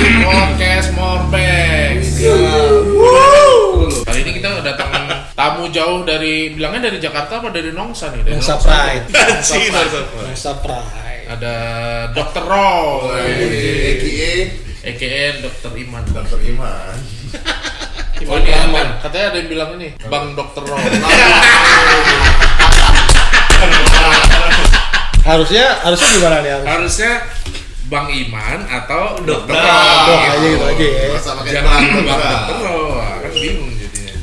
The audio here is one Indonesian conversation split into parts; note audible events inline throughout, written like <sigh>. podcast Morbex. Kali ini kita datang tamu jauh dari bilangnya dari Jakarta apa dari Nongsa nih? Dari Nongsa Nongsa. Pride. <laughs> Nongsa Pride. Nongsa Pride. Ada Dr. Roy, EKE aka Dr. Iman. Dokter Iman <laughs> Oh ini ada- katanya ada yang bilang ini Bang Dr. Roy. Harusnya harusnya gimana nih harus? Harusnya Bang Iman atau Dr. Dok Roy. aja gitu aja ya. Masa pakai Jangan Iman, Bang Bang. Dr. Roy. Kan bingung jadinya.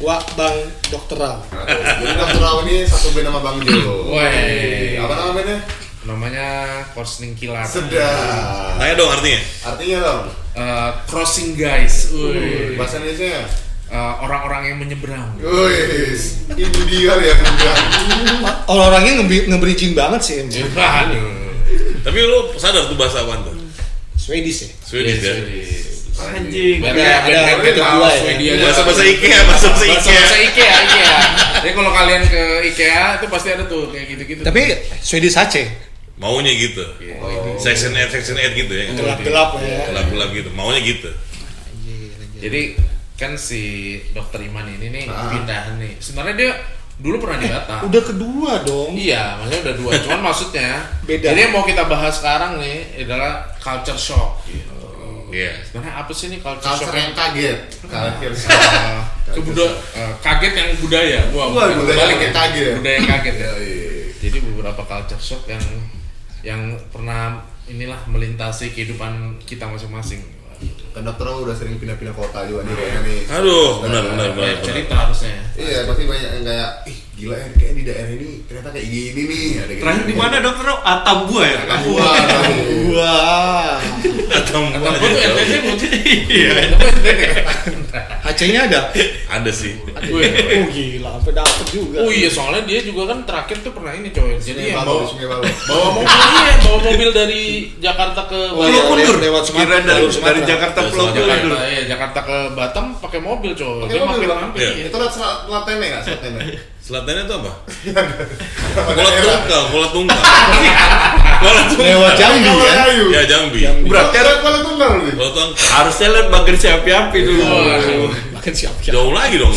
Wak Bang Dokteral. Jadi Dokter Raw ini satu band sama Bang Jero Woi. Apa nama bandnya? Namanya Korsning Kilat. Sedap Tanya dong artinya. Artinya dong Eh, crossing guys, Woi. Bahasa Indonesia ya? Eh, orang-orang yang menyeberang. Wih India ya bukan Orang-orangnya nge- nge-bridging banget sih ini. Aduh. Tapi lu sadar tuh bahasa apaan tuh? Swedish ya. Swedish ya. Anjing. Ada Ada- ada ada yang kedua ya. Swedia. Iya, Bahasa bahasa IKEA, bahasa Bahasa bahasa IKEA. bahasa IKEA, IKEA. E. Jadi kalau kalian ke IKEA itu pasti ada tuh kayak gitu-gitu. Tapi Swedish Aceh. Maunya gitu. Section 8, section 8 gitu ya. Gelap-gelap ya. Gelap-gelap gitu. Maunya gitu. jadi kan si Dokter Iman ini nih Ah. pindahan nih. Sebenarnya dia dulu pernah di Batam. Udah kedua dong. Iya, maksudnya udah dua. Cuman maksudnya Beda. Jadi yang mau kita bahas sekarang nih adalah culture shock. Gitu. Iya. Sebenarnya apa sih nih culture, Culture shock? yang kaget Kaget Eh, kebuda- eh, kaget yang budaya. Wah, Ah. Wah, bukan budaya kebalik ya. yang kaget ya. iya. Budaya yang kaget ya. Jadi beberapa culture shock yang yang pernah inilah melintasi kehidupan kita masing-masing. Kan Dokter Raw udah sering pindah-pindah kota juga nih kayaknya nih kan? Aduh, benar benar benar. Banyak benar. cerita harusnya. ya. Iya pasti banyak yang kayak Ih gila ya kayaknya di daerah ini ternyata kayak gini nih Ada kayak gitu. Terakhir gini. di mana dokter? Atap gua ya. Wah, Wah. Atau Atau mungkin gua tuh ada NTT jauh. gua tuh- Iya. Acehnya ada. Ada sih. Wih. Oh gila, sampai dapet juga. Oh iya, soalnya dia juga kan terakhir tuh pernah ini coy. Jadi Sungai yang Balo, bawa, Sungai Balo. bawa mobil iya, bawa mobil dari Jakarta ke Oh, Wah, iya, Pulau lewat- Kundur. lewat Sumatera. Kirain dari, Lewat Sumatera. dari Jakarta Dari Pulau Sumatera. Kundur. Jakarta, iya, Jakarta ke Batam pakai mobil coy. Pakai Dia mampir mobil, Bang. mampir. Iya. Itu lah selat selat tene nggak selat <laughs> tene? Selatannya tuh apa? Apa Bola daerah? tungkal, bola <laughs> tungkal. Bola Lewat tungkal. Jambi kan. Kayu. Ya Jambi. Berarti ada kalau tunggal nih. Bola tungkal. Harusnya lihat bager siapi-api dulu. Iya. Iya. Wah. Makin siap-siap. Jauh lagi dong. <laughs>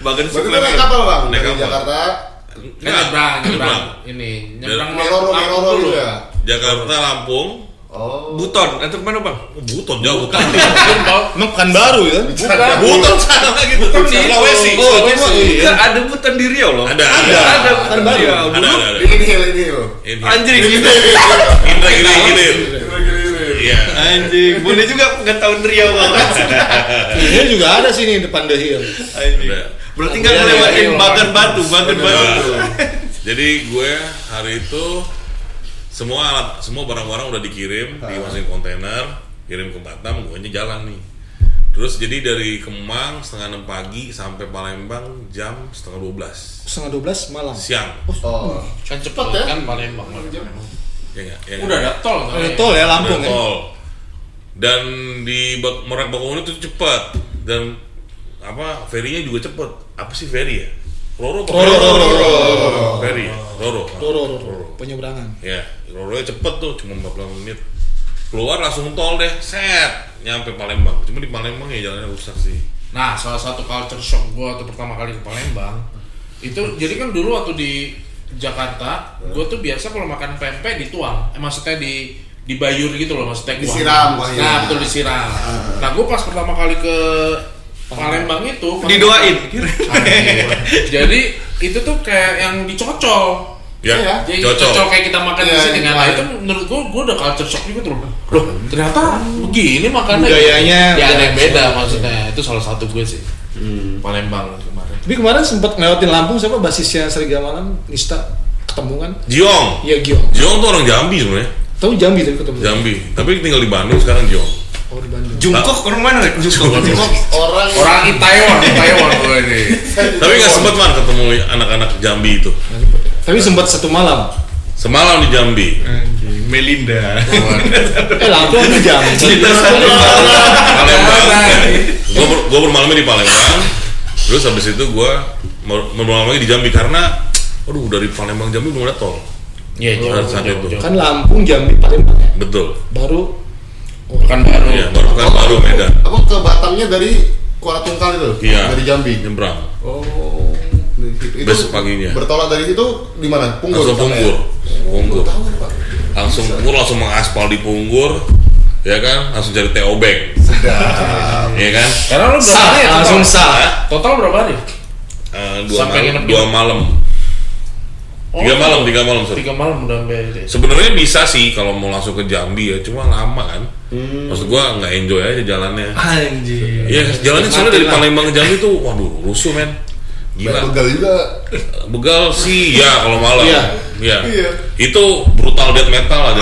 Bager Berarti lu naik siapi. kapal bang Naik dari kapal. Jakarta. Kan Nah, nyebrang, nyebrang ini, nyebrang Meroro Lampung meroro dulu. dulu ya. Jakarta, Lampung. Oh. Buton, antar mana bang? Oh, Buton jauh. <laughs> Lampung bau. Emang bukan baru ya? Bukan. Buton sana lagi tuh. Buton di- gitu. Iya, Sulawesi. Oh, Sulawesi. Sulawesi. Kan ada buton di ya Riau loh. Ada, gitu. Ada, ada. ada Kan buton baru. di Riau. Ada, ada, ada. Ini ini ini lo. Ini. Anjing, Indra gini gini. Iya. anjing. Boleh juga pengetahuan Riau bang. Ini Iya juga ada sih nih depan The Hill. Anjing. Ada. Berarti Iya, nggak iya, ngelewatin iya, Kan bagan iya. batu, bagan batu. Jadi gue hari itu semua alat, semua barang-barang udah dikirim, Ah. dimasukin kontainer, kirim ke Batam, gue jalan nih. Terus jadi dari Kemang setengah enam pagi sampai Palembang jam setengah dua belas Setengah 12 malam. siang, Oh. Kan cepet Cepet ya. kan Palembang. Palembang. ya nggak? Ya Udah nggak? ada tol kan? Ada tol ya Lampung ya. Betul. Dan di Bak- Merak Bakauheni itu cepat dan apa ferinya juga cepat. Apa sih feri ya? Roro apa Roro, feri? Roro, Feri, ya? Roro. Roro, Roro, penyeberangan. Ya, Roro cepet tuh, cuma 40 menit. Keluar langsung tol deh, set, nyampe Palembang. Cuma di Palembang ya jalannya rusak sih. Nah, salah satu culture shock gua waktu pertama kali ke Palembang itu jadi kan dulu waktu di Jakarta, gua tuh biasa kalau makan pempek dituang. Eh, maksudnya di dibayur gitu loh maksudnya gua. Disiram, wah, iya. Nah, betul disiram. Nah, gua pas pertama kali ke Palembang itu Didoain. Aduh. Jadi itu tuh kayak yang dicocol. Iya. Ya, Jadi cocok. cocok kayak kita makan di Iya, sini kan. iya. Nah, itu menurut gua gua udah culture shock juga tuh. Loh, ternyata begini makannya. Budayanya ya ada udah yang beda maksudnya. Itu salah satu gue sih. Palembang kemarin. Tapi kemarin sempat ngelewatin Lampung siapa basisnya Serigala Malam, Nista ketemu kan? Jiong. Iya Giong. Jiong tuh orang Jambi sebenarnya. Tahu Jambi tadi ketemu. Jambi. Tapi tinggal di Bandung sekarang Jiong. Oh di Bandung. Jungkok orang mana? Rek? Jungkok. Orang. gitu. Orang Itaewon, Itaewon gue ini. Tapi nggak sempet man ketemu anak-anak Jambi itu. Tapi sempat satu malam. Semalam di Jambi. Anjing, Melinda. Eh Lampung ada Jambi. Cerita satu Palembang. Palembang. Gue ber, gua bermalamnya di Palembang. Terus habis itu gue bermalam lagi di Jambi karena aduh dari Palembang Jambi belum ada tol. Iya, jauh, Harus ada jauh, itu. jauh. Kan Lampung Jambi Palembang. Betul. Baru Bukan baru. Iya, baru bukan baru Medan. Aku ke Batamnya dari Kuala Tungkal itu, Iya. dari Jambi. Nyebrang. Oh, dari situ. Itu Besok paginya. Bertolak dari situ di mana? Punggur. Langsung sampai Punggur. ya? Punggur. Tahu, Pak. Langsung Punggur langsung mengaspal di Punggur. Ya kan? Langsung cari TO Bank. Sedap. Iya kan? Karena lu berapa Sah, hari? ya langsung total? sah. Hah? Total berapa hari? Eh, dua Sampai malam, nginep dua gitu? malam. Oh, Tiga malam, tiga malam. sorry. Tiga malam udah sampai. Sebenarnya bisa sih kalau mau langsung ke Jambi ya, cuma lama kan. Hmm. Maksud gua nggak enjoy aja jalannya. Anjir. Iya, jalannya soalnya dari Palembang ke Jambi tuh, waduh, rusuh men. Banyak Gila. ya? begal juga. Begal sih, ya kalau malam. Iya. Iya. Iya. Itu brutal death metal aja.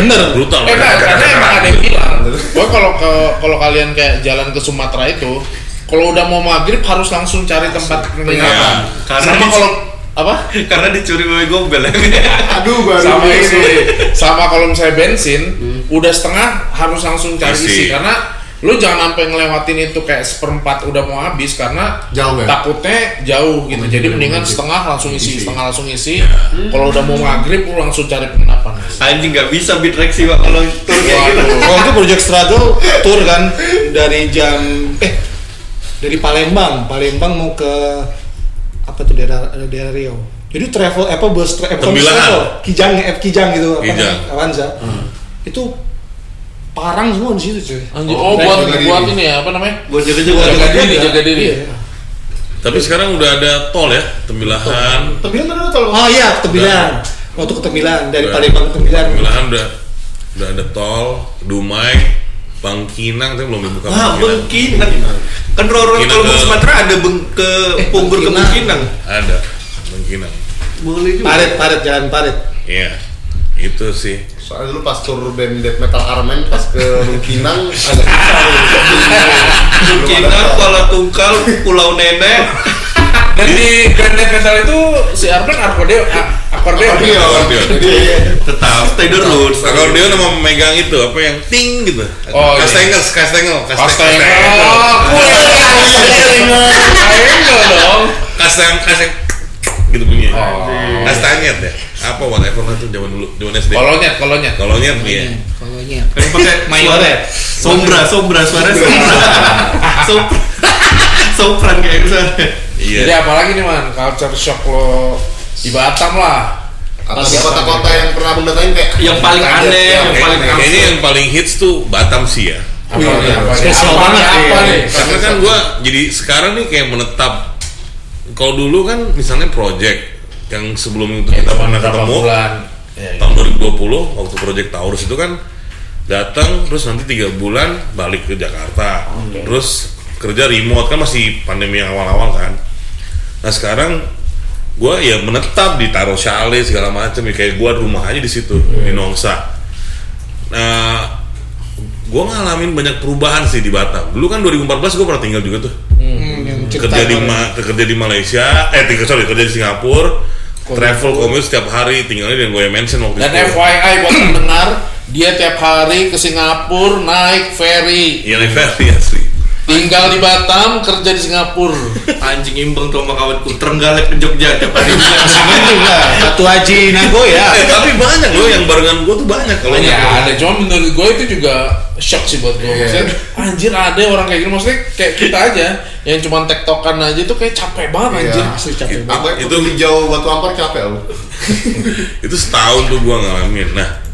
Bener. Brutal. Eh, nah, karena emang ada yang eh. bilang, gue kalau ke kalau kalian kayak jalan ke Sumatera itu, kalau udah mau maghrib harus langsung cari tempat penginapan. Karena Sama di- kalau apa? Karena dicuri wewe gombel. Aduh, baru Sama beli. itu. Sama kalau misalnya bensin, udah setengah harus langsung cari Isi. isi karena lu jangan sampai ngelewatin itu kayak seperempat udah mau habis karena Jauh ya? takutnya jauh gitu. Jadi mendingan setengah langsung isi, setengah langsung isi. Kalau udah mau maghrib lu langsung cari penginapan. Anjing nggak bisa beat Rexy Pak kalau tur kayak gitu. Waduh. Waktu Oh, itu Project Struggle tour kan dari jam eh dari Palembang, Palembang mau ke apa tuh daerah daerah Riau. Jadi travel apa bus tra, eh, bukan bus Tembilangan. travel, Kijang F Kijang gitu apa namanya, Kijang. Avanza. Itu parang semua di situ cuy. Hmm. Oh, buat Jaga diri. buat ini ya, apa namanya? Buat jaga juga. Jaga diri, jaga diri. Iya. Tapi sekarang udah ada tol ya, tembilahan. Tembilan mana tol? Oh iya, ke Tembilan. Waktu ke Tembilan dari Udah. Palembang ke Tembilan. Tembilahan udah udah ada tol, Dumai, Bangkinang tapi belum dibuka. Wah, Ah, Bangkinang. Bengkinang. Kan Roro Bengkinang kalau ke ke- Sumatera ada beng ke Eh, Punggur ke Bengkinang. Bengkinang. Ada Bangkinang. Boleh juga. Parit, parit, jalan parit. Iya. Itu sih. Soalnya dulu pas tur band death metal Armen pas ke Mungkinang agak susah. Bengkinang, Kuala Tungkal, Pulau Nenek. Dan di Grand Death Metal itu si Arben Arkordeo Arkordeo Akordeon. Akordeon. Jadi Tetap stay the roots. Akordeon sama memegang itu apa yang ting gitu. Oh, iya. kastengel, kastengel, Kastengel kastengel. Kastengel Kastengel dong Kasteng, kasteng gitu bunyinya. Oh. Kastanyet ya. Apa whatever lah itu zaman dulu, zaman SD. Kolonyat, kolonyat Kolonyet iya. Kalau nya. Yang pakai suara. ya? Sombra, sombra, suara sombra. Sombra. Sopran kayak gitu. suara. Iya. Jadi apalagi nih man, culture shock lo di Batam lah atau di kota-kota yang pernah mendatangin kayak Yang paling Kaget, aneh, ya. yang Kayak- paling Kayaknya yang paling hits tuh Batam sih ya. Apa nih, apa nih, spesial apa nih, banget apa ya. nih Karena kan gua jadi sekarang nih kayak menetap. Kalau dulu kan misalnya project yang sebelum itu Kita kita pernah pernah berapa ketemu bulan Ya, gitu. tahun 2020 waktu project Taurus itu kan datang terus nanti tiga bulan balik ke Jakarta terus kerja remote kan masih pandemi yang awal-awal kan nah sekarang gua ya menetap di Taro Chalet segala macam ya kayak gua rumah aja di situ di Nongsa nah gua ngalamin banyak perubahan sih di Batam dulu kan 2014 gua pernah tinggal juga tuh Hmm, yang cerita kerja di kemarin. ma- kerja di Malaysia eh tinggal sorry kerja di Singapura travel commute setiap hari tinggalnya dengan gue mention waktu Dan itu FYI buat pendengar dia tiap hari ke Singapura naik ferry, Iya Ferry asli. tinggal di Batam, kerja di Singapura. anjing imbang tuh sama kawanku terenggalek ke Jogja tiap hari. Sama juga. Satu Haji nah, Nagoya. Eh, tapi banyak loh yang barengan gua tuh banyak kalau Banyak nggak- Iya, ada, cuma menurut gue itu juga shock sih buat gue. Maksudnya, anjir ada orang kayak gini, maksudnya kayak kita aja yang cuma tektokan aja tuh kayak capek banget Iya. anjir. Asli capek banget. Aku yang Itu- itu hijau batu ampar capek lu. Itu setahun tuh gua ngalamin. Nah,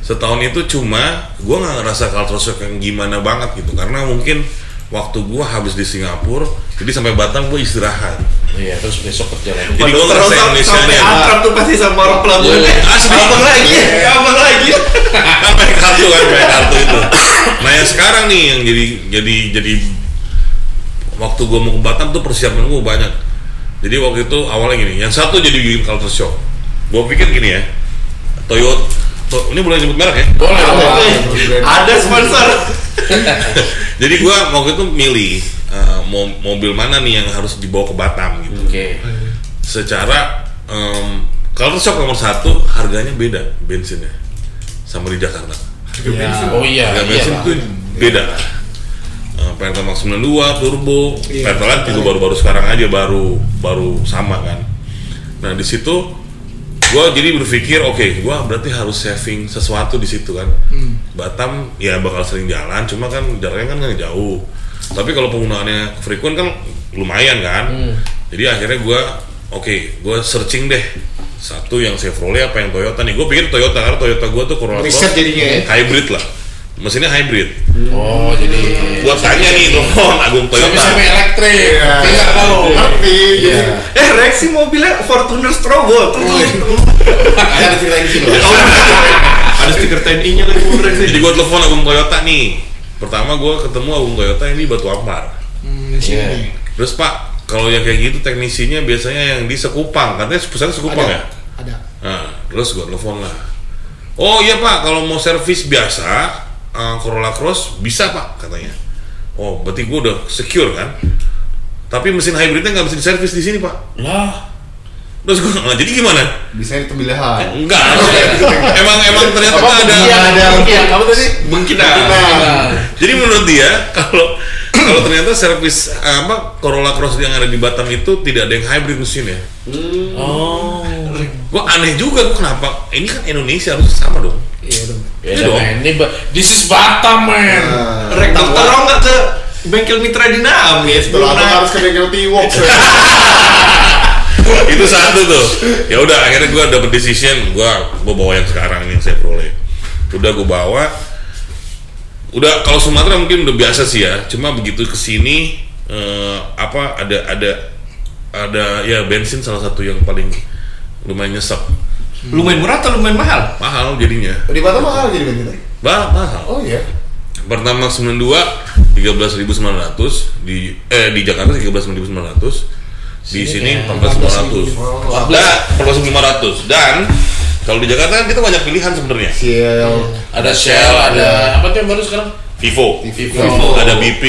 setahun itu cuma gua nggak ngerasa culture shock yang gimana banget gitu karena mungkin waktu gua habis di Singapura jadi sampai Batam gua istirahat Iya, terus besok kerja lagi. jadi gua ngerasa Indonesia sampai nya akrab tuh pasti sama orang pelabuhan. Eh, Iya. Asli. Abang lagi, Iya. abang lagi. sampai kartu kan sampai kartu itu nah yang sekarang nih yang jadi jadi jadi waktu gua mau ke Batam tuh persiapan gua banyak jadi waktu itu awalnya gini yang satu jadi bikin culture shock gua pikir gini ya Toyota to- ini boleh nyebut merek ya Boleh, Boleh. boleh. Ada sponsor. jadi gua waktu itu milih eh, mo- mobil mana nih yang harus dibawa ke Batam gitu Oke. secara em, culture shock nomor satu harganya beda bensinnya sama di Jakarta Oh iya, iya. Harga bensin lah. itu beda. Uh, Pertamax 92 turbo, Iya, Pertalite juga baru-baru sekarang aja baru baru sama kan. Nah, di situ gue jadi berpikir oke gue berarti harus saving sesuatu di situ kan Hmm. Batam ya bakal sering jalan cuma kan jaraknya kan nggak jauh tapi kalau penggunaannya frequent kan lumayan kan Hmm. jadi akhirnya gue oke gue searching deh satu yang Chevrolet apa yang Toyota nih gue pikir Toyota karena Toyota gue tuh Corolla Riset Cross jadinya ya. hybrid lah mesinnya hybrid Oh, jadi gue tanya nih telepon Agung Toyota Bisa elektrik. Tidak tahu. Ngerti. Iya. Eh reaksi mobilnya Fortuner Strobo tuh. Iya. Ada cerita di gitu. sini. Oh, Ada stiker TNI-nya lagi full jadi reaksi. gue telepon Agung Toyota nih pertama gue ketemu Agung Toyota ini batu ampar Hmm, di sini Iya. nih. Terus Pak, kalau yang kayak gitu teknisinya biasanya yang di Sekupang, katanya pusatnya Sekupang ya. Ada. Nah, terus gua telepon lah. Oh iya Pak, kalau mau servis biasa eh, Corolla Cross bisa Pak katanya. Oh, berarti gua udah secure kan? Tapi mesin hybridnya nggak bisa diservis di sini Pak. Lah, Terus gua "Nah, jadi gimana? Bisa di tembilahan. Enggak. emang emang ternyata Apa, ada. iya. ada- Iya, kamu tadi Nah. Nah. Mungkin ah. iya. Jadi menurut dia kalau kalau ternyata servis eh, apa Corolla Cross yang ada di Batam itu tidak ada yang hybrid mesinnya. Oh. Gua aneh juga gua kenapa ini kan Indonesia harus sama dong. Iya dong. Ya, Iya dong. man. Ini ba- this is Batam, man. Nah. Rektor tolong nggak ke bengkel Mitra Dinamis Setelah belum itu naik. harus ke bengkel Tiwok. <laughs> <laughs> itu satu tuh. Ya udah akhirnya gua dapet decision gua gua bawa yang sekarang ini yang saya peroleh. Udah gua bawa. Udah kalau Sumatera mungkin udah biasa sih ya. Cuma begitu kesini eh, apa ada ada ada ya bensin salah satu yang paling lumayan nyesek Lumayan murah atau lumayan mahal? mahal jadinya Di Batam mahal jadi bengkel. bah mahal Oh iya. pertama 92 13.900 di eh di Jakarta 13.900 di ya. sini 14.900 Oh, dan 14.500 dan kalau di Jakarta kan kita banyak pilihan sebenarnya Ciel. Ada Shell, ada apa tuh yang baru sekarang? Vivo, Vivo. ada BP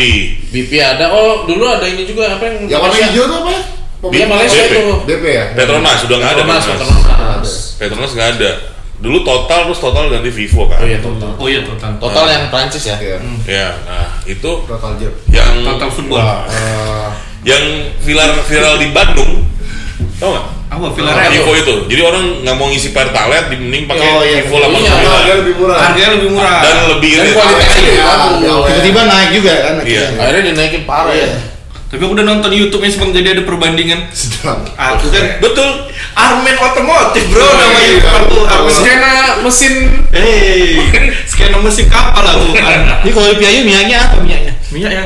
BP ada. Oh, dulu ada ini juga apa yang Yang warna hijau tuh apa? ya? Iya, Malaysia BP. itu. BP ya? Petronas sudah nggak ada Petronas, Petronas Petronas. Petronas nggak ada dulu total terus total ganti Vivo kan Oh iya, total. Oh iya total. Total yang Prancis ya. Iya. ya nah itu Total Jep. yang Total football. Eh, yang viral viral di Bandung tau nggak Apa Apa? Villarreal? Vivo Nah, itu jadi orang nggak mau ngisi pertalite mending pakai Oh iya. Vivo Iya, Iya, 89 harga lebih murah. Harganya lebih murah. dan lebih Dan irit. kualitasnya juga Iya, bagus. iya. Tiba-tiba naik juga kan Iya. akhirnya. Akhirnya dinaikin Oh, parah iya. ya. Tapi aku udah nonton YouTube-nya sempat jadi ada perbandingan. Sedang. Aku kan betul Armen Otomotif bro Oh, nama iya. YouTube aku. Aku Skena mesin Hey, skena mesin kapal aku kan. Jadi kalau di Piayu minyaknya apa minyaknya? Minyak ya.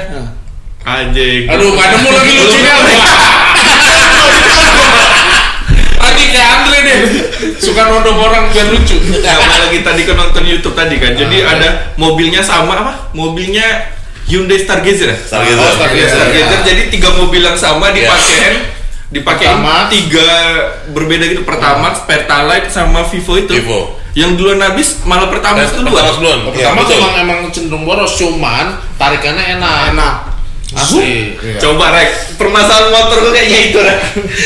Anjing. Aduh, gak nemu lagi lucunya. Tadi kayak Andre deh, suka nodong orang biar <laughs> lucu. Nah, Iya, lagi tadi kan nonton YouTube tadi kan. Jadi ada mobilnya sama apa? Mobilnya Hyundai Stargazer ya? Stargazer. Oh, Stargazer. Iya, Stargazer. iya. Jadi tiga mobil yang sama dipakein dipakein Pertamax. tiga berbeda gitu Pertamax, Pertalite sama Vivo itu. Vivo. Yang duluan habis malah Pertamax duluan. Pertamax duluan. Iya, Pertama tuh betul. emang, emang cenderung boros, cuman tarikannya enak. Enak. Asli. Iya. Coba Rek, permasalahan motor lu kayaknya itu Rek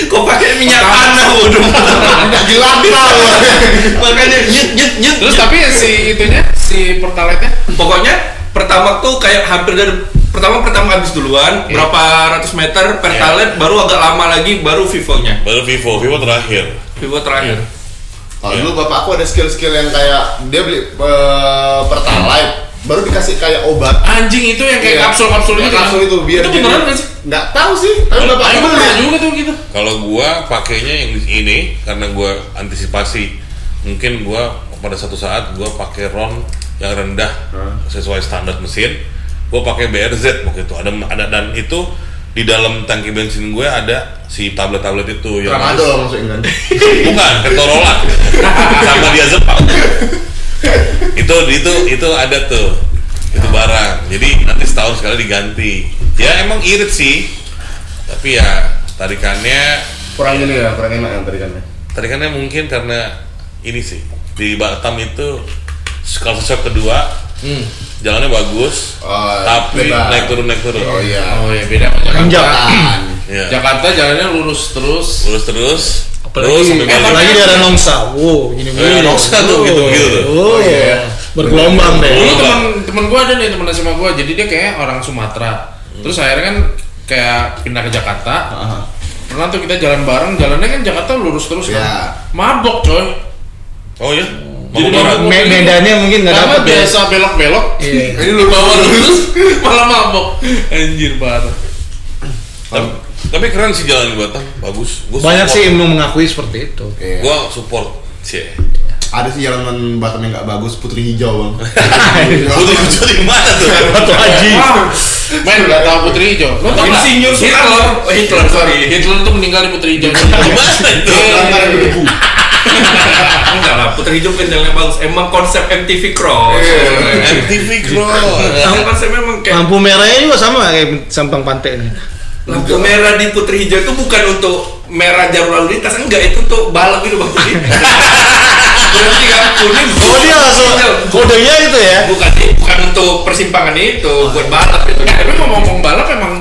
Kok pakai minyak tanah bodoh Nggak jelas. <laughs> Makanya nyet nyet nyet Terus tapi ya si itunya, si pertalite Pokoknya pertama tuh kayak hampir dari Pertama pertama habis duluan, berapa ratus meter Pertalite baru agak lama lagi baru Vivo-nya baru Vivo Vivo terakhir Vivo terakhir Kalau Iya. dulu bapak aku ada skill-skill yang kayak dia beli eh, pertalite, baru dikasih kayak obat. anjing itu yang Iya. kayak Iya. kapsul-kapsul Kayak gitu. kapsul itu biar Itu jadi- beneran nggak sih? Nggak tahu sih, tapi bapak Ayo aku beli. pernah juga tuh gitu. kalau gua pakainya yang di- ini karena gua antisipasi mungkin gua pada satu saat gua pakai RON yang rendah sesuai standar mesin gua pakai BRZ waktu itu ada ada dan itu di dalam tangki bensin gue ada si tablet-tablet itu yang Tramadol maksudnya kan. bukan ketorola sama dia zepang itu itu itu ada tuh itu barang jadi nanti setahun sekali diganti ya emang irit sih tapi ya tarikannya Kurang ini ya, kurang enak yang tadi kan. tarikannya mungkin karena ini sih di Batam itu kalau shock kedua Hmm. jalannya bagus Oh, tapi lebar. naik turun naik turun Oh iya. Oh iya beda sama Jakarta. Menjauh. Iya. Jakarta jalannya lurus terus. terus terus terus Apalagi, sampai balik. apalagi daerah Nongsa. Wow, gini Eh, Nongsa tuh, gitu-gitu tuh. Oh iya. ya. Bergelombang deh. dulu teman teman gue ada nih teman SMA Hmm. gue jadi dia kayak orang Sumatera terus akhirnya kan kayak pindah ke Jakarta Pernah tuh kita jalan bareng, jalannya kan Jakarta lurus terus kan. Iya. Mabok coy. Oh ya? Jadi Mabuk Iya. darat. mabuk. Me- medannya mungkin nggak Karena dapet ya. biasa belok-belok. Iya. Ini lu Bawa <laughs> lurus malah mabok. Anjir parah. Tapi, tapi keren sih jalan di Batam, bagus. Gua Banyak sih support. yang mengakui seperti itu. Iya. Gua support. Cie. Ada sih jalanan Batam yang nggak bagus, Putri <laughs> Hijau bang. Putri hijau di mana tuh? Atau haji. Ah, Wah, main nggak tahu Putri Hijau. Lo tau nggak? Insinyur Hitler, Soekarno. Hitler, sorry. Hitler tuh meninggal di Putri Hijau. Di mana itu? Lantaran berdebu. Enggak lah, Putri Hijau kan jalannya bagus. Emang konsep MTV Cross. Iya. MTV Cross. Emang konsepnya emang kayak Lampu merahnya juga sama kayak sampang pantai ini. lampu merah di Putri Hijau itu bukan untuk merah jarum lalu lintas, enggak itu untuk balap gitu bang. Jadi <laughs> berarti kan kuning. Oh dia langsung Hijau. kodenya itu ya. Bukan bukan untuk persimpangan itu, buat balap itu. Eh, tapi ngomong-ngomong balap emang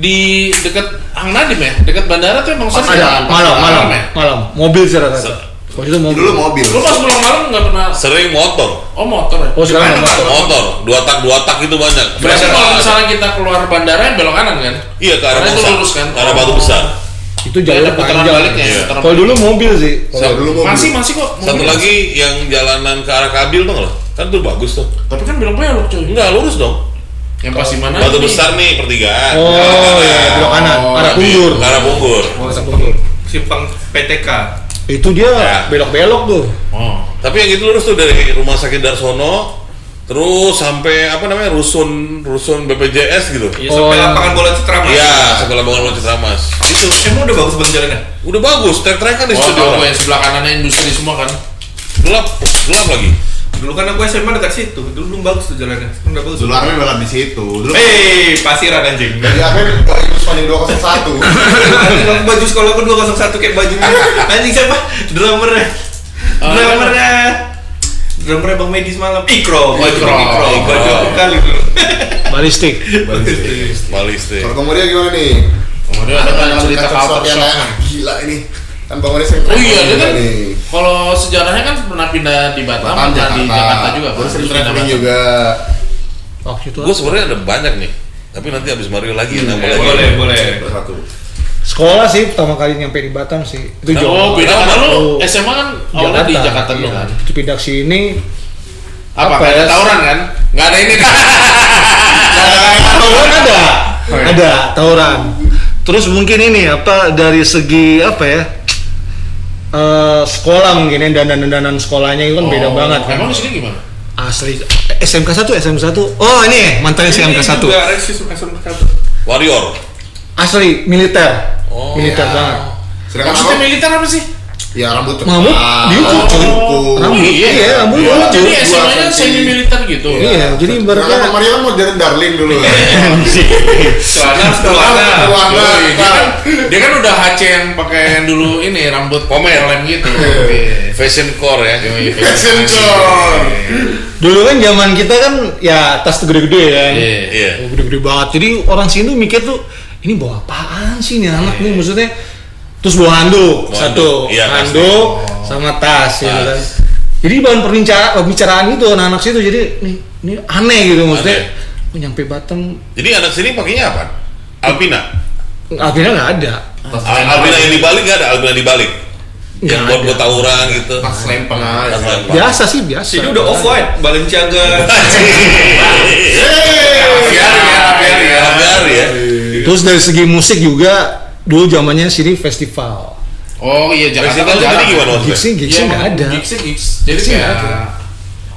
di deket Hang Nadim ya, deket bandara tuh emang sering. Ada malam malam ya. malam mobil secara rata. Se- Kalau itu mobil. Dulu mobil. Lo pas pulang malam nggak pernah. Sering motor. Oh motor ya. Oh sekarang Gimana, nggak Pak? motor. Motor, dua tak dua tak itu banyak. Berarti Berasa- kalau misalnya kita keluar bandara belok kanan kan? Iya ke arah Karena itu besar. lurus kan? Ke arah batu besar. Itu Ada jalur putaran ya. baliknya. iya, panjang. Iya. putaran Kalau dulu mobil sih. Oh, Kalau dulu mobil. Masih masih kok. Satu mobil. lagi yang jalanan ke arah Kabil tuh loh. Kan tuh bagus tuh. Tapi kan belok belok cuy. Nah, Enggak lurus dong. Yang pas di mana? Batu nih? besar nih pertigaan. Oh ya belok kanan arah Kabil, kundur. Ke arah Bunggur. Arah kundur. Simpang PTK. Itu dia Ya. belok-belok tuh. Oh. Tapi yang itu lurus tuh dari rumah sakit Darsono terus sampai apa namanya rusun rusun BPJS gitu. Ya, Oh. sampai lapangan bola Citramas. Iya, sebelah bangun Loncat Ramas. Itu emang udah bagus bang jalannya. Udah bagus, trek-trekan di Wah, situ. tau gue orang. yang sebelah kanannya industri semua kan. Gelap, gelap lagi. Dulu kan aku SMA dekat situ, dulu belum bagus tuh jalannya. Sekarang udah bagus. Dulu Armin balap di situ. Dulu Eh. Hei, pasiran anjing. jadi Armin eh, ke Yus Paning <laughs> 201. Anjing, aku baju sekolah aku 201 kayak baju anjing siapa? Drummernya. Oh, Ah. iya, Drummernya. Drummernya Bang Medi semalam. Ikro, baju Ikro, Oh, Ikro, iya. Ikro, baju Ikro. aku kali dulu. Balistik. Balistik. Kalau kemudian gimana nih? Kemudian ada banyak cerita culture yang shock. kayak, "Ah, gila ini. Kan Bang Mori sering Oh iya, traveling dia kan juga nih. kalau sejarahnya kan pernah pindah di Batam, Batam, pernah di Jakarta juga. Gua sering Terus pindah traveling Batam. juga. Waktu itu Gue sebenarnya ada banyak nih, tapi nanti habis Mario lagi nambah Iya, lagi. Boleh, boleh. Satu. sekolah sih pertama kali nyampe di Batam sih. Itu Oh, jauh. beda karena lu Oh. SMA kan awalnya di Jakarta dulu iya. kan. Itu pindah ke sini. Apa, Apa nggak ada ya? tawuran kan? Nggak ada ini. Tauran ada. Oh, iya. Ada tauran. Terus mungkin ini apa dari segi apa ya? Eh, sekolah mungkin ya dandan-dandanan sekolahnya itu kan beda Oh, banget kan. Emang di sini gimana? Asli Eh, SMK 1, SMK 1. Oh, ini mantan SMK 1. <laughs> Warrior. Asli militer. Oh, militer iya. banget. Sedangkan Maksudnya aku, militer apa sih? ya rambut Rambut diukur, cuy. Diukur. Rambut, iya, rambut Iya. diukur. Jadi Dua SMA-nya senti. semi militer gitu. Iya, jadi Sedangkan Bang ibaratnya Mori kan modern darling dulu. Iya, kan. Celana, celana. Celana, celana. Yoi, dia, kan, dia kan udah HC yang pakai yang dulu ini rambut pomel lem gitu. Iya. Fashion core ya. Yoi, Fashion fashion. dulu kan zaman kita kan ya tas tuh gede-gede ya. Iya. Iya. Oh, Gede-gede banget. Jadi orang sini tuh mikir tuh ini bawa apaan sih nih anak nih maksudnya terus bawa handuk Bawa satu, handuk. Iya, handuk sama tas gitu kan. Tas. Jadi bahan perbincang- pembicaraan itu anak-anak situ jadi ini ini aneh gitu maksudnya. Aneh. Oh, nyampe Batam Jadi anak sini pakainya apa? Alpina. akhirnya nggak ada. Tas Al- lempeng. Alpina yang dibalik gak ada Alpina dibalik. Yang Nggak buat ada. buat tawuran gitu. Tas lempeng aja. Tas lempeng. Biasa sih biasa. Jadi udah off white, Balenciaga. Biar ya, biar ya. Biar ya. Terus dari segi musik juga dulu zamannya sini festival. Oh iya Jakarta Festival kan itu jarang. jadi gimana maksudnya? Gigsnya Iya. gigsnya nggak ada. Gigs gigs. Jadi Gigsnya kayak nggak ada.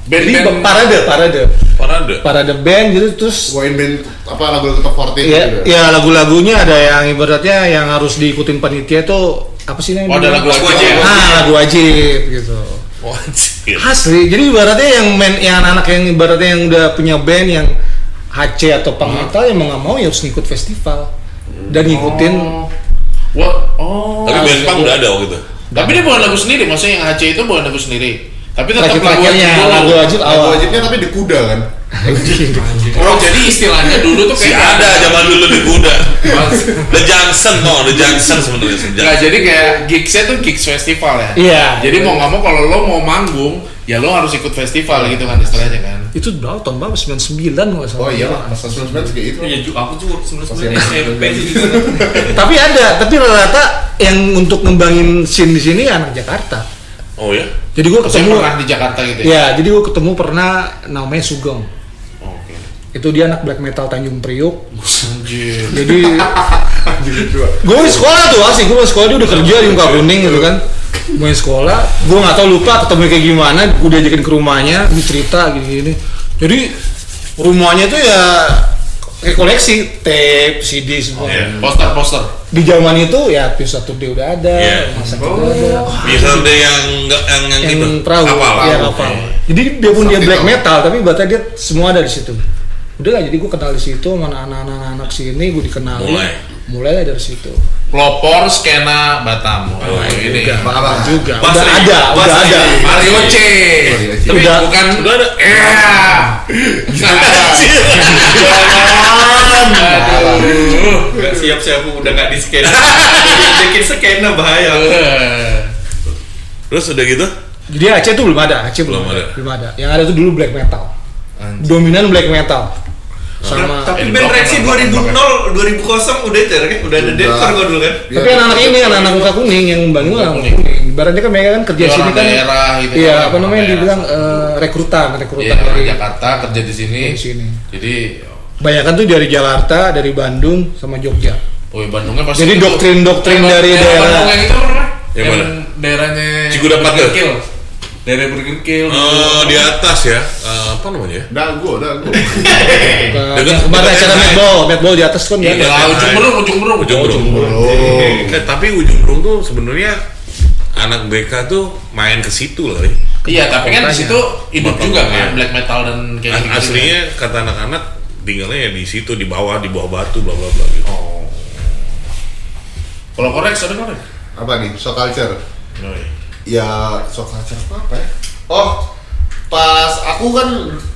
Jadi band-band parade parade Parade. parade band gitu terus Bawain band apa lagu lagu top 40 ya, gitu. ya lagu-lagunya ada yang ibaratnya yang harus diikutin panitia tuh apa sih namanya? Oh, ada lagu wajib. Ah, lagu wajib gitu. Oh, Wajib. Asli. Jadi ibaratnya yang main yang anak yang ibaratnya yang udah punya band yang HC atau Hmm. punk metal yang mau nggak mau ya harus ngikut festival dan ngikutin Oh. Wah, oh. Tapi band punk udah ada waktu itu. Tapi dia bukan lagu sendiri, maksudnya yang HC itu bukan lagu sendiri. Tapi tetap terakhir lagu terakhirnya wajib dulu. lagu wajib Lagu awal. wajibnya tapi di kuda kan. Oh jadi istilahnya dulu tuh Si kayak ada zaman dulu di kuda. Mas- The Johnson no, The Johnson sebenarnya. The Nah, Johnson. jadi kayak gigsnya tuh gigs festival ya. <laughs> Iya. Jadi mau nggak mau kalau lo mau manggung, ya lo harus ikut festival Iya. gitu kan istilahnya kan. itu berapa tahun berapa 99 nggak salah Oh iya lah, masa 99 kayak gitu. Iya, juga aku juga Masih sebenarnya ada. SMP juga. tapi ada tapi rata-rata yang untuk ngembangin scene di sini anak Jakarta Oh ya. jadi gua Saya ketemu pernah di Jakarta gitu ya. ya jadi gua ketemu pernah namanya Sugeng Oke. itu dia anak black metal Tanjung Priuk Anjir. jadi Gitu dua. gue di sekolah tuh asik gue sekolah dia udah kerja di muka kuning gitu kan gue di sekolah gue nggak tahu lupa ketemu kayak gimana gue diajakin ke rumahnya gue cerita gini gini jadi rumahnya tuh ya kayak koleksi tape CD semua Iya. Poster-poster. di zaman itu ya Pizza Today udah ada Iya. masa udah ada Bisa ada yang enggak yang yang, yang itu. perahu Kapal. Iya, kapal. jadi biarpun dia Sakti black tahu. metal tapi batanya dia semua ada di situ udah lah jadi gue kenal di situ sama anak-anak anak sini gue dikenalin Mulai. mulailah dari situ Pelopor skena Batam. Oh, iya. ini. Bang Abang. juga Basri. udah ada udah Basri. ada Mario C. Mario C. Tapi Iya. Udah. bukan <laughs> Udah ada. Eh. Aduh. Gak siap siap udah gak di <laughs> scan. Jadi scan bahaya. Terus udah gitu? Jadi Aceh tuh belum ada, Aceh belum, Belum ada. ada. belum ada. Yang ada tuh dulu black metal, Anjir. dominan black metal, sama. Tapi Eh, band blok, Rexy blok, 2000 2000 udah cara kan udah ada Udah. Denver kok dulu kan. Tapi anak-anak ini, anak-anak muka kuning yang bangun Muka anak kuning. kuning. Ibaratnya kan mereka kan kerja Ya, sini orang kan, daerah gitu iya kan, apa orang namanya daerah. dibilang eh, rekrutan, Iya, rekrutan orang dari. Jakarta kerja di sini. Di sini. Jadi, Banyak tuh dari Jakarta, dari Bandung, sama Jogja. oh Bandungnya pasti. Jadi itu. doktrin-doktrin Yang dari daerah daerah. Bandung yang itu apa namanya? Yang mana? daerahnya Cikuda Patel. Burger Kill. Oh, Daerah Burger Kill. Eh, di atas ya. Eh, apa namanya ya? Dah gua, dah gua. Ke- Dekat- Kemarin dekat acara yang netball, netball di atas kan Iya, ya. Iya. ujung berung, ujung berung. Oh, Ujung Berung. Oh. Eh, tapi ujung berung tuh sebenarnya anak BK tuh main ke situ loh. Ri. Iya, tapi kan di situ hidup Bapak juga Bapak, kan iya. black metal dan kayak As- gitu-gitu. Aslinya kata anak-anak tinggalnya ya di situ di bawah di bawah batu bla bla bla gitu. Oh. Kalau korek, ada korek? Apa nih? Shock culture. Oh, iya. Ya, shock culture apa, apa ya? Oh, pas aku kan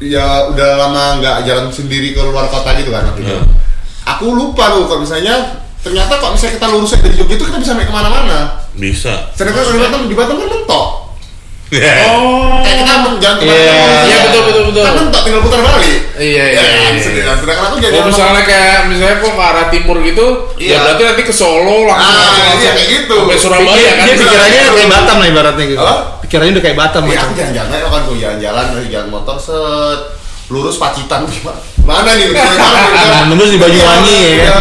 ya udah lama nggak jalan sendiri ke luar kota gitu kan waktu itu. Ya. Hmm. Aku lupa tuh kalau misalnya ternyata kalau misalnya kita lurusnya dari Jogja itu kita bisa naik kemana-mana. Bisa. Sedangkan kalau di Batam, di Batam kan mentok. Oh. Kayak kita men- jalan Iya. kemana-mana. Iya, betul, betul, betul. Kan mentok tinggal putar balik. Iya, iya, Ya, iya, sedih. iya. Nah, Sedangkan aku jadi Kalau anak- misalnya kayak misalnya kok ke arah timur gitu, ya Iya. berarti nanti ke Solo langsung Ah, langsung- iya, langsung kayak gitu. Sampai Surabaya Dia, kan. dia pikirannya kayak Batam lah ibaratnya gitu. Apa? Pikirannya udah kayak Batam gitu. Iya, macam. aku jalan-jalan aja kan gue jalan-jalan dari jalan motor set lurus Pacitan gimana? Mana nih? Nah, nembus di Banyuwangi, ya. Iya.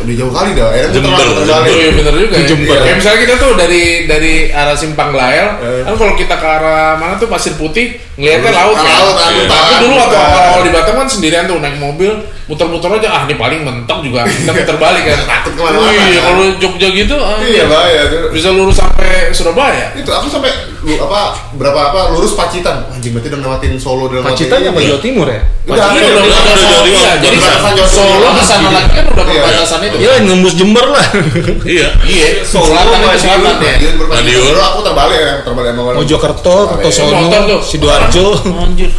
Udah jauh kali dah. Akhirnya Jember, muter lagi, muter Oh, lagi. iya bener juga. ya. Jember. Kayak misalnya kita tuh dari dari arah Simpang Glael, kan kalau kita ke arah mana tuh Pasir Putih, ngelihatnya laut Ke kan. laut, Iya. angkutan, Tapi dulu waktu angkutan. awal-awal di Batam kan sendirian tuh naik mobil, muter-muter aja ah ini paling mentok juga. Kita putar balik <laughs> kan. Takut kemana-mana, Wih, kan? kalau Jogja gitu ah, Iya, bahaya. tuh. bisa lurus sampai Surabaya. Itu aku sampai lu, apa berapa apa lurus Pacitan. Anjing berarti udah ngelewatin Solo udah ngelewatin. Pacitan apa Jawa Jawa Timur ya? Iya. Udah, Iya, udah, udah. udah, udah, Iya, udah, Jadi udah, udah, udah. Solo ke sana lagi kan udah Iya. perbatasan itu. Iya, nembus Jember lah. <laughs> <laughs> Iya. Iya, Solo, selatan ke Madiun, selatan ya. Madiun berpacitan. Madiun. Dulu aku terbalik ya, terbalik sama orang. Mojokerto, Kertosono, Motor tuh. Sidoarjo. Anjir.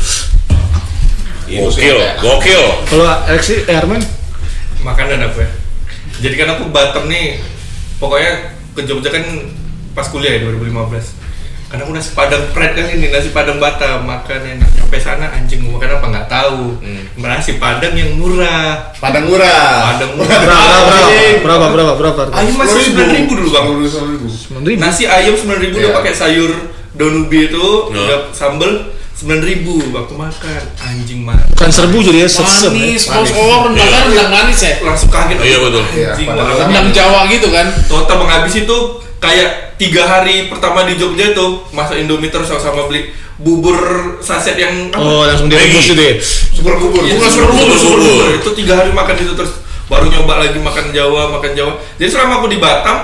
Gokil, gokil. Kalau Alexi eh, Herman, Makanan apa ya? Jadi kan aku Batam nih pokoknya ke Jogja kan pas kuliah ya 2015 karena aku nasi padang pride kali ini nasi padang Batam makan enak nyampe sana anjing mau makan apa nggak tahu nasi padang yang murah Hmm. Padang murah. <laughs> padang berapa murah berapa berapa berapa? ayam masih 9.000 dulu bang ribu. Sembilan ribu. Nasi ayam 9000 ribu Iya. pakai sayur daun ubi itu Nah. udah sambel 9000 ribu waktu makan anjing mah Bukan serbu jadi ya sesem. ya. Manis, kos oh rendang kan rendang manis ya. langsung kaget Iya, betul. anjing Iya, mah. padahal- Rendang Jawa gitu kan. total menghabis itu kayak tiga hari pertama di Jogja itu masak Indomie terus sama beli bubur saset yang Oh langsung direbus Maggi. itu ya. Super kubur. Iya, Bukan super super bubur, bubur. super bubur. Itu tiga hari makan itu terus baru nyoba lagi makan Jawa, makan Jawa. Jadi selama aku di Batam,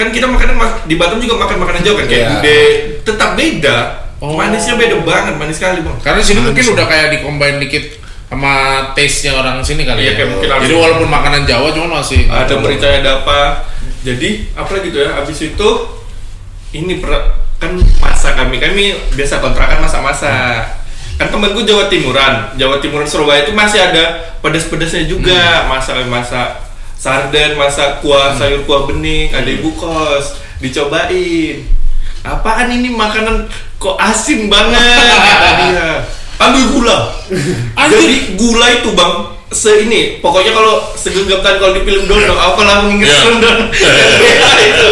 kan kita makanan mas- di Batam juga makan makanan Jawa kan kayak Iya. gudeg. Tetap beda. Oh. Manisnya beda banget, manis sekali bang. Karena sini mungkin udah kayak dikombain dikit sama taste-nya orang sini kali Iya, ya. kayak mungkin Jadi harus- walaupun makanan Jawa cuman masih Ada merica, ada apa. Jadi apa gitu ya? Abis itu ini per- kan masak kami kami biasa kontrakan masak-masak. kan temenku Jawa Timuran Jawa Timuran Surabaya itu masih ada pedas-pedasnya juga masak masak sarden masak kuah sayur kuah bening ada ibu kos dicobain apaan ini makanan kok asin banget kata dia ambil gula jadi gula itu bang se ini pokoknya kalau segenggam-kan kalau di film Dono apalah mengingat Iya. film <laughs> Dono itu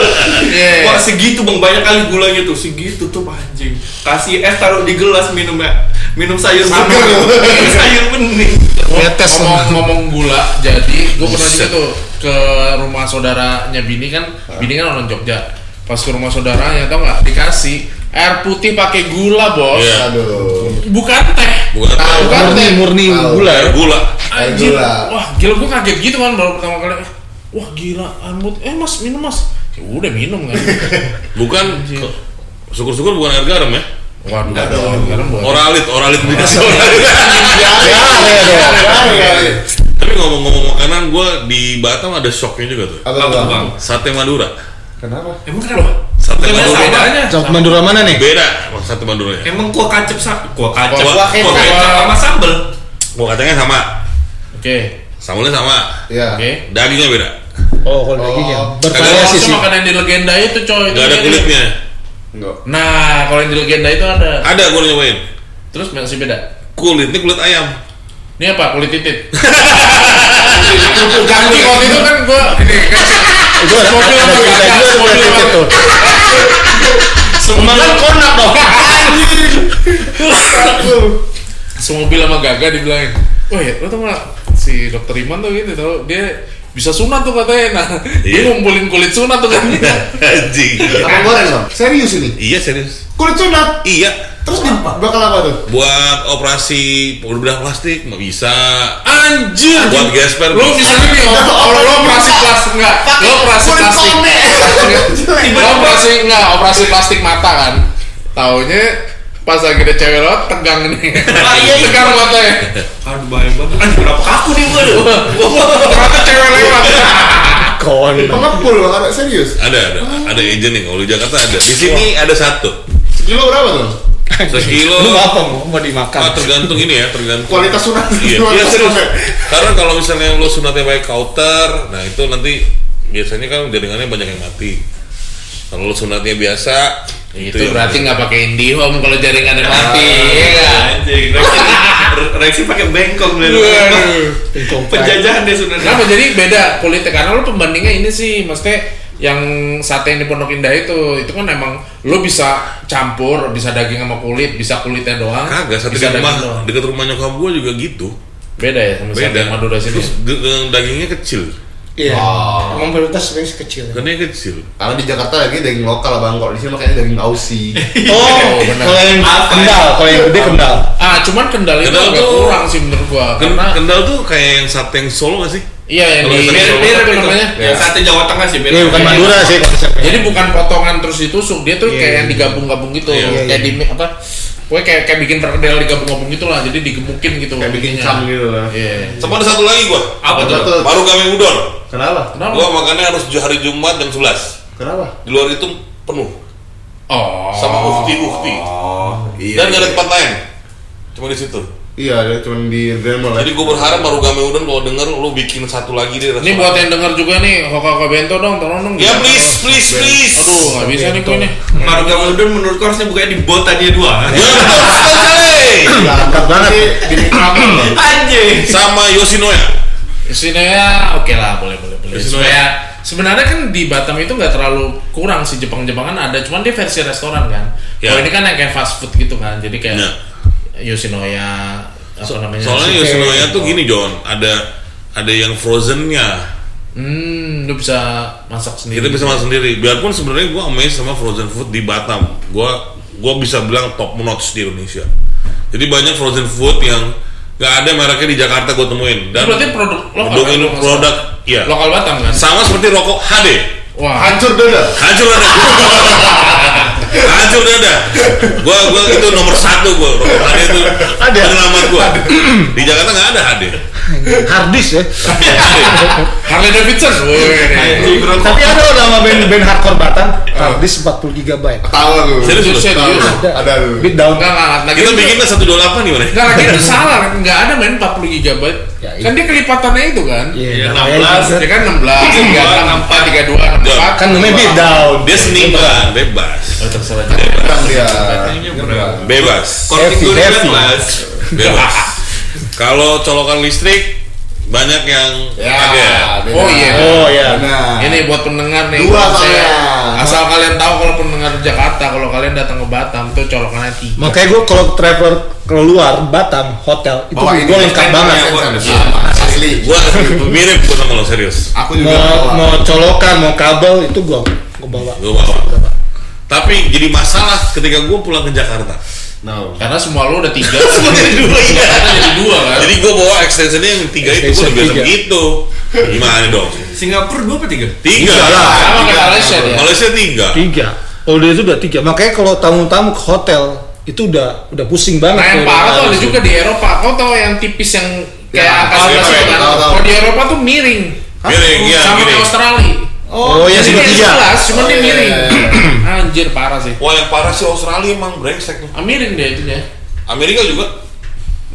Iya. Wah, segitu bang banyak kali gulanya tuh segitu tuh anjing kasih es taruh di gelas minum ya minum sayur Sama. bening Minum sayur bening Netes ngomong, ngomong gula jadi gue pernah juga Buset. tuh ke rumah saudaranya bini kan bini kan orang Jogja pas ke rumah saudaranya tau nggak dikasih air putih pakai gula bos Iya. Aduh. bukan teh Bukan teh. Tahu kan murni teh murni Tahu. gula ya. Air gula. Air Anjir, gula. wah gila gue kaget gitu kan baru pertama kali eh, wah gila ambut eh mas minum mas ya udah minum kan Bukan Anjir. syukur-syukur bukan air garam ya. wah enggak dong karena buat Oralit, oralit dikasih oralit. <laughs> Ya, ya, ya, ya. Tapi ngomong-ngomong makanan, gue di Batam ada shocknya juga tuh. Apa tuh, Bang? Sate Madura. Kenapa? emang kenapa Sate Bukannya Madura. sama aja Cok Madura mana nih? Beda sama sate Maduranya. emang kuah kacep sa kuah kacep Kuah- kuah kuah kecap kecap. sama sambel Gua katanya sama, oke sambalnya sama, Ya. oke dagingnya beda. Oh, kalau dagingnya Oh. Kalau bervariasi itu sih. makanan di legenda itu coy itu Gak ada Iya, dia- kulitnya. Enggak. Nah, kalau yang di legenda itu ada. Ada gue nyobain. Terus masih beda. Kulitnya kulit ayam. Ini apa? Kulit titit. Tapi Kerupuk kambing waktu itu kan gua ini kan Itu ada Mobil ada sama cerita kaca, juga tuh, mobil ada cerita sama- tuh. Semangat Iya. konak <laughs> dong. semobil sama Gaga dibilangin. Wah, ya, lo tau gak si dokter Iman tuh gitu tau dia bisa sunat tuh katanya. Nah, dia Iya. ngumpulin kulit sunat tuh kan. Anjing. Apa goreng, Bang? Serius ini? iya serius. Kulit sunat. Iya. Terus di bakal apa tuh? Buat operasi bedah plastik nggak bisa. Anjir. Buat gesper Lo bisa gini, oh, kalau lo operasi plastik enggak? Lo operasi Kulit plastik. kone. <laughs> Lo operasi enggak? Operasi plastik mata kan. Taunya pas lagi ada cewek lo tegang nih. Ah, iya, iya. Tegang ya. matanya. aduh bahaya banget aduh kenapa kaku nih gua aduh. Ternyata cewek lewat. Konak. Pengepul, Bang. Ada- Serius. Ada ada ada agent nih kalau di Jakarta ada. Di sini ada satu. Kilo berapa tuh? Sekilo. Lu apa mau mau dimakan? Ah, tergantung ini ya, tergantung Kualitas sunat. <laughs> Iya, iya Kualitas serius. sunat. Karena kalau misalnya lo sunatnya pakai kauter, nah itu nanti biasanya kan jaringannya banyak yang mati. Kalau lo sunatnya biasa, Itu, berarti nggak pakai IndiHome kalau jaringannya mati, Ah. iya nggak? anjing <laughs> reaksi reaksi pakai bengkok lu Iya, Tengkong pecah. penjajahan deh sebenarnya Kenapa jadi beda kulitnya? Karena lo pembandingnya ini sih, maksudnya yang sate yang di Pondok Indah itu, itu kan emang lo bisa campur, bisa daging sama kulit, bisa kulitnya doang, kagak satu di bisa daging doang. rumah dekat rumah nyokap gue juga gitu. Beda ya sama sate Beda. Madura <laughs> sini. ya? Terus de- de- dagingnya kecil, Iya. Oh. Emang prioritas sebenarnya kecil. dagingnya kecil. Karena di Jakarta lagi daging lokal bang, kalau di sini makanya daging Aussie. Oh, benar. <laughs> kalau yang Apa kendal, kalau yang gede kendal. Ah, cuman kendal itu Kendal agak tuh- kurang sih menurut gua. Ken- Karena Kendal tuh kayak yang sate yang Solo gak sih? iya yang Kalau di sate Solo Iya. apa mirip itu namanya? Iya. yang sate Jawa Tengah sih Ini Iya, bukan Madura sih konsepnya. Jadi bukan potongan terus ditusuk, dia tuh Iya, kayak iya, yang iya. digabung-gabung gitu, Iya, iya, kayak iya. di apa? Pokoknya kayak kayak bikin perkedel digabung-gabung gitu lah, jadi digemukin gitu. Kayak bikin intinya. cam gitu lah. Iya. Sama ada satu lagi gua. apa tuh Betul. Baru kami udon. Kenapa? Kenapa? Gua makannya harus hari Jumat jam 11. Kenapa? Di luar itu penuh Oh. sama ukti-ukti. Oh, iya. Dan gak ada tempat lain. Cuma di situ. Iya, ada cuma di Grand Mall. ya. Jadi gue berharap baru Game Udon kalau denger lu bikin satu lagi deh. Ini buat yang denger juga nih, Hoka Hoka Bento dong, tolong dong. Ya please, please, please. Aduh, nggak bisa nih gue nih. Marga Udon menurutku harusnya bukannya di bot tadi dua Ya betul sekali. <coughs> Jakarta banget. sih di Mikrabel. anjing Sama Yoshinoya. Isinya ya, oke lah, boleh boleh boleh. Isinya Supaya sebenarnya kan di Batam itu nggak terlalu kurang sih Jepang-Jepangan ada, cuman dia versi restoran kan. Ya. Kalau ini kan yang kayak fast food gitu kan, jadi kayak Ya. Yoshinoya apa namanya? Soalnya Yoshinoya tuh gini John, ada ada yang frozennya. Hmm, lu bisa masak Kita sendiri. bisa masak sendiri. Biarpun sebenarnya gue amazed sama frozen food di Batam. Gue gua bisa bilang top notch di Indonesia. Jadi banyak frozen food yang nggak ada mereknya di Jakarta gue temuin. Itu berarti produk lokal produk, kan, ini- lu masak? produk iya. Lokal Batam kan. Sama seperti rokok HD. Wah, Hancur dada. hancur <laughs> dada hancur dada gua gua itu nomor satu gua rokok HD itu Ada. penyelamat gua di Jakarta nggak ada HD Hardis ya. <laughs> Harley Davidson. Woi. Anjing, bro. Tapi ada loh nama band band hardcore Batam, Hardis 40 GB. Tahu lu. Serius? Itu serius. Ada. Ada lu. Beat down. Iya, Enggak enggak lagi. Iya. Kita itu- bikin lah 128 gimana? Enggak lagi itu salah. Enggak ada main 40 GB. Ya, iya. Kan dia kelipatannya itu kan. Iya, namanya 16, juga. Dia kan Iya. 16, 36, 32, 64. kan namanya beat down. Dia seni kan, bebas. Oh, terserah. Tentang dia. Iya, Katanya berapa? Bebas. Korting Heavy, gue udah heavy. 11. Bebas. Kalau colokan listrik banyak yang Ya. kaget. beda. Oh, iya. Oh ya. Nah. Ini buat pendengar nih. Dua kalau saya- soalnya. Asal kalian tahu kalau pendengar Jakarta, kalau kalian datang ke Batam tuh colokannya tiga. Makanya gue kalau traveler keluar Batam hotel itu Bawa ini gue lengkap kan banget. yang- Sama, asli. Gua <laughs> mirip gua sama lo serius. Aku juga. Mau bawa. mau colokan mau kabel itu gue gue bawa. Gua bawa. Tapi jadi masalah ketika gua pulang ke Jakarta. No. Karena semua lu udah tiga. Semua <laughs> jadi dua, iya. Jakarta jadi dua kan. Jadi gua bawa extensionnya yang tiga itu gua Extension udah biasa tiga. begitu. Gimana dong? Singapura 2 apa 3? Tiga Tiga lah. Sama kayak Malaysia dia. Malaysia tiga. tiga kalau dia itu udah tiga makanya kalau tamu-tamu ke hotel itu udah udah pusing banget Nah yang Kayak parah tuh ada harus- juga di Eropa. Kau tahu yang tipis yang kayak Ya, angka tahu, sebelas tahu, itu kan? tahu, tahu. Kalau di Eropa tuh miring. Miring, iya, Sama miring. kayak Australia. oh, ya Jadi dia tiga sebelas, cuman Oh, dia iya, miring. iya, <clears throat> Anjir parah sih. Wah yang parah sih Australia emang brengsek tuh. Ah, Miring deh itu deh. Amerika juga.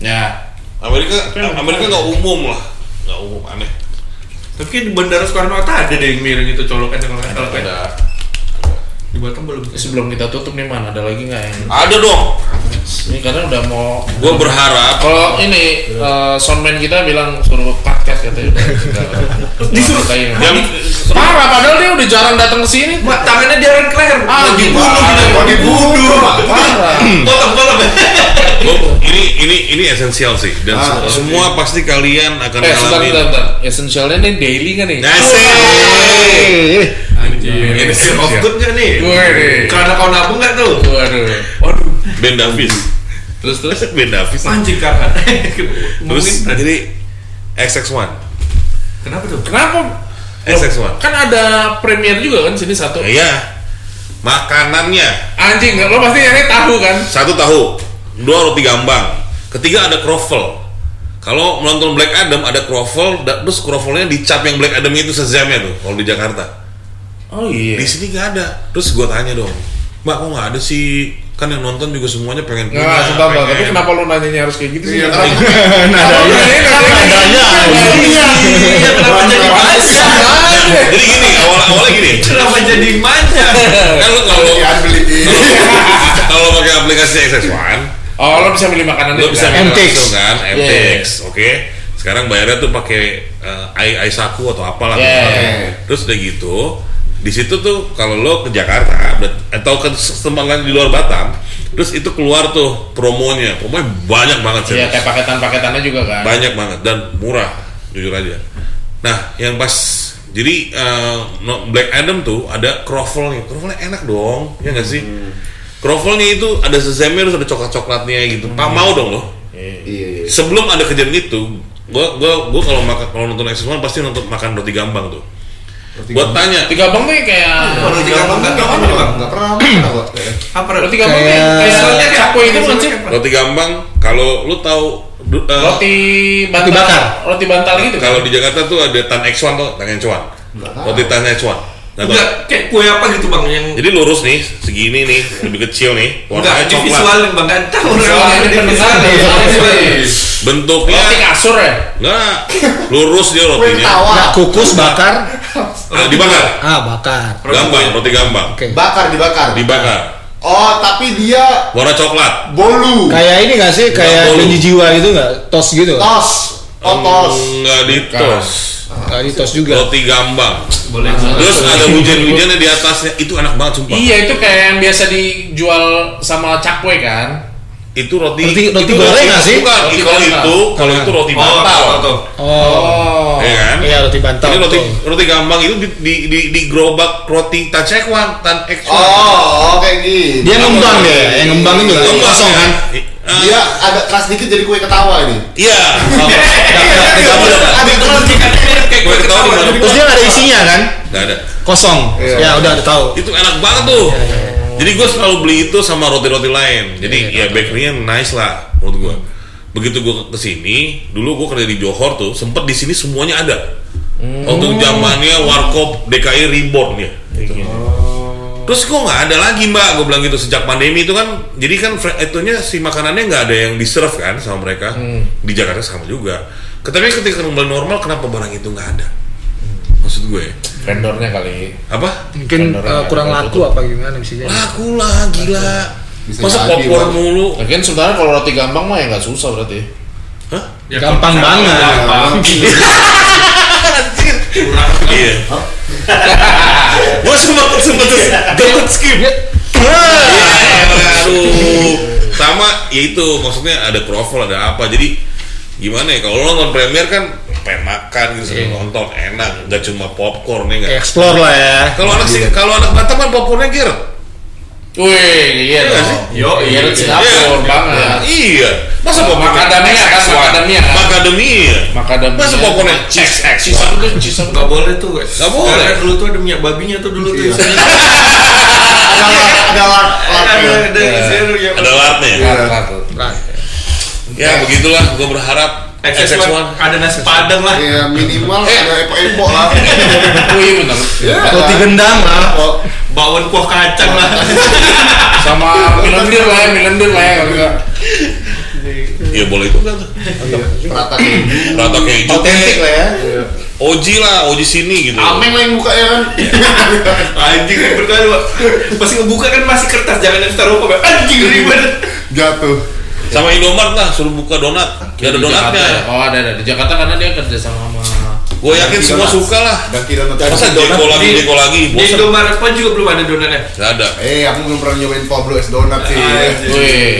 Ya. Amerika Amerika nggak umum lah. Nggak umum aneh. Tapi kayak di Bandara Soekarno Hatta ada deh yang miring itu colokan yang nggak salah kayak. Ada. Di Batam belum. Sebelum kita tutup nih man, ada lagi nggak yang Ada dong. ini karena udah mau Gua berharap kalau ini eh, soundman kita bilang suruh cut cut katanya udah <laughs> disuruh kayak yang parah padahal dia udah jarang datang ke sini Mak, tangannya di aren kleher. Ah, gitu. Mau dibunuh. parah Potong-potong. Gua- ini ini ini esensial sih dan Ah, se- oke. semua pasti kalian akan eh sebentar ngalamin. sebentar sebentar essentialnya nih daily kan nih <laughs> Nasib. Eh, Anjir. Iya, Ini sih of good nggak nih? Gue nih. Karena kau nabung nggak tuh? waduh Oh, Waduh. Ben Davis. <laughs> Terus terus. Ben Davis. Anjing karena. <laughs> Terus Ah, nah, Ngomongin tadi. jadi XX1. Kenapa tuh? kenapa XX1. Oh, kan ada premier juga kan sini satu Nah, Iya. Makanannya anjing lo pasti nyari tahu kan satu tahu, dua roti gambang, ketiga ada croffle. Kalau menonton Black Adam ada croffle, da- terus croffle-nya dicap yang Black Adam itu sejamnya tuh kalau di Jakarta. oh iya di sini nggak ada terus gue tanya dong mbak kok nggak ada sih kan yang nonton juga semuanya pengen punya Nggak, Iya, sumpah Bang. tapi Iya, pengen." kenapa lo nanyanya harus kayak gitu sih? Iya, Kenapa? nadanya Kenapa? nadanya Iya. Iya, kenapa jadi manja? jadi gini awal awalnya gini <laughs> Kenapa jadi manja? kan lu kalau Iya, Ya, beliin. <laughs> kalau pakai aplikasi XS1 Oh, lo bisa beli makanan lu bisa kan? milih MTX. langsung kan Iya, MTX oke sekarang bayarnya tuh pakai eh, ai ai saku atau Iya, apalah gitu. Yeah. terus udah gitu di situ tuh kalau lo ke Jakarta atau ke tempat di luar Batam terus itu keluar tuh promonya promonya banyak banget Iya, serius. kayak paketan-paketannya juga kan. banyak banget dan murah jujur aja nah yang pas jadi eh, no- Black Adam tuh ada croffle nya croffle enak dong ya nggak sih croffle nya itu ada sesamnya terus ada coklat coklatnya gitu pak mau dong loh Iya, iya. sebelum ada kejadian itu gua gua gua kalau makan kalau nonton x pasti nonton makan roti gambang tuh buat tanya Tiga bang tuh kayak Kalau di kampung nggak Nggak kapan pernah, bang? nggak pernah, nggak pernah gua. Apa? roti gambang tuh Kayak- kayak soalnya Kayak- capo itu bukan sih? roti gambang kalau lu tahu du- eh, Roti bantal. bakar. Roti bantal gitu kan. kalau di Jakarta tuh ada tan X1 tuh tan X1 Nggak tahu. roti tan X1 Nggak tahu. Enggak, kayak kue apa gitu bang yang Jadi lurus nih, segini nih, lebih kecil nih, Enggak, warnanya di coklat. visualin bang, kan tahu Soalnya orang ini di ya, pendengar nih. visualin. Bentuknya Roti kasur ya? enggak lurus dia nah, rotinya. Tawa. kukus bakar Nah, dibakar. ah bakar Gambang, roti gambang. oke Bakar dibakar. Dibakar. Oh, tapi dia Warna coklat. bolu. kayak ini nggak sih kayak Nggak janji jiwa gitu nggak tos gitu Tos. Oh, Hmm. tos. Enggak ditos. kali Ah, tos juga Roti gambang. Boleh. Terus ada hujan-hujannya di atasnya. Itu enak banget sumpah. Iya, itu kayak yang biasa dijual sama cakwe kan. Itu roti Roti- roti itu goreng nggak sih? Bukan, Roti kalau bantal. itu kalau itu roti Oh, bantal. tahu tahu. oh Oh. Iya kan? iya roti bantal Ini roti betul. roti gambang itu di di di, di gerobak roti tan X1, tan X1. Oh, oke gitu. dia ngembang ya yang ngembang itu kan Enggak, kosong kan Ah, Dia agak keras dikit jadi kue ketawa ini. Iya. Agak keras dikit. Kayak kue Gue ketawa di ketawa. mana? terus dia nggak ada isinya kan Nggak ada. kosong Iya. ya udah udah tahu Itu enak banget tuh. Iya, Jadi gue selalu beli itu sama roti-roti lain. Jadi ya bakery-nya nice lah menurut gue. begitu gua ke sini dulu gua kerja di Johor tuh sempet di sini semuanya ada waktu zamannya warkop DKI reborn ya gitu. terus kok nggak ada lagi mbak gue bilang gitu sejak pandemi itu kan jadi kan fre- itunya si makanannya nggak ada yang di serve kan sama mereka Hmm. di Jakarta sama juga tapi ketika kembali normal kenapa barang itu nggak ada maksud gue vendornya kali apa mungkin Vendornya eh, kurang ada laku apa gimana bisa jadi laku lah gila Bisa masa jadi, popcorn Bang. mulu Lagian sebenarnya kalau roti gampang mah ya nggak susah berarti. Hah? Ya, gampang kalau- banget Gampang. iya gue sempat sempat dapat skip Dia- aduh sama ya itu maksudnya ada croffle ada apa jadi gimana ya kalau lo nonton premier kan pengen makan gitu sambil nonton enak nggak cuma popcorn ya nggak explore lah ya kalau anak sih kalau anak Batam kan popcornnya gear Wih, iya nggak dong. sih? Yo, iya. Irit Singapura Iya. banget. iya masa Nah, popcorn macadamia kan, macadamia. macadamia Makadamia. masa popcornnya cheese X Cheese apa tuh? Cheese apa Gak tuh? boleh tuh. Nggak boleh. Karena dulu tuh ada minyak babinya tuh dulu tuh. Iya. isinya. <laughs> ada ada Ada ada ada isinya tuh yang Iya. ada lartnya Iya. Nah, ya begitulah gue berharap XS1, XX1 ada nasi padang lah. Iya. ya minimal ada epo-epo lah Oh iya benar. Eh. roti gendang lah Oh, Bawon kuah kacang lah. Sama milendir lah ya, milendir lah ya. kalau nggak. ya boleh itu kan rata keju. rata keju otentik lah ya Oji lah, Oji sini gitu. Ameng lah yang buka ya <laughs> kan. Anjing ribet kali, Pak. Pas ngebuka kan masih kertas, jangan yang taruh apa. Anjing Iya. ribet. Jatuh. Sama Indomart lah, suruh buka donat. Gak ada Di Jakarta donatnya. ya. Oh ada ada di Jakarta karena dia kerja sama sama Gue yakin Donat. semua suka lah. Dan kira Masa jeko lagi, Di- jeko lagi, Di bosan. Indomaret pun juga belum ada donatnya. Gak ada. Eh, aku belum pernah nyobain Pablo es donat Ah, sih. iya, Anjing. Wih,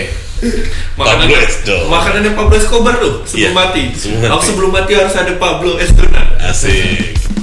Pablo Escobar. makanannya Pablo Escobar tuh sebelum Iya, mati. sebelum mati. Aku sebelum mati harus ada Pablo Escobar. Asik.